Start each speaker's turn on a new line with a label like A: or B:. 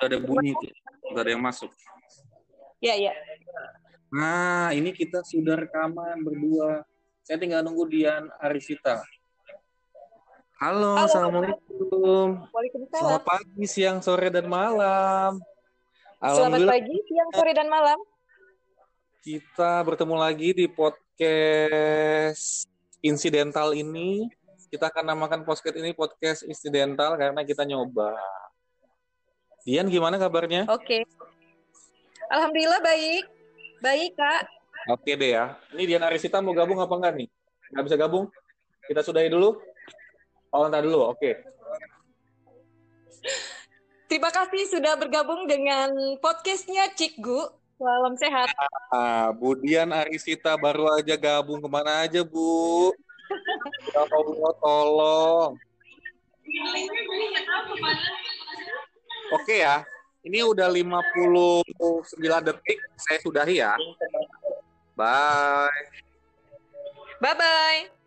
A: ada bunyi tuh. Sudah ada yang masuk.
B: Ya, ya.
A: Nah, ini kita sudah rekaman berdua. Saya tinggal nunggu Dian Arisita. Halo,
B: Halo.
A: Assalamualaikum.
B: Waalaikumsalam.
A: Selamat pagi, siang, sore, dan malam.
B: Selamat
A: Alhamdulillah
B: pagi, siang, sore, dan malam.
A: kita bertemu lagi di podcast Insidental ini. Kita akan namakan podcast ini podcast Insidental karena kita nyoba. Dian, gimana kabarnya?
B: Oke. Alhamdulillah baik. Baik, Kak.
A: Oke deh ya. Ini Dian Arisita mau gabung apa enggak nih? Nggak bisa gabung? Kita sudahi dulu? Oh, entar dulu. Oke.
B: Terima kasih sudah bergabung dengan podcastnya Cikgu. Salam sehat.
A: Ah, Bu Dian Arisita baru aja gabung kemana aja, Bu? Ya Allah, tolong. Oke ya. Ini udah 59 detik. Saya sudahi ya. Bye.
B: Bye-bye.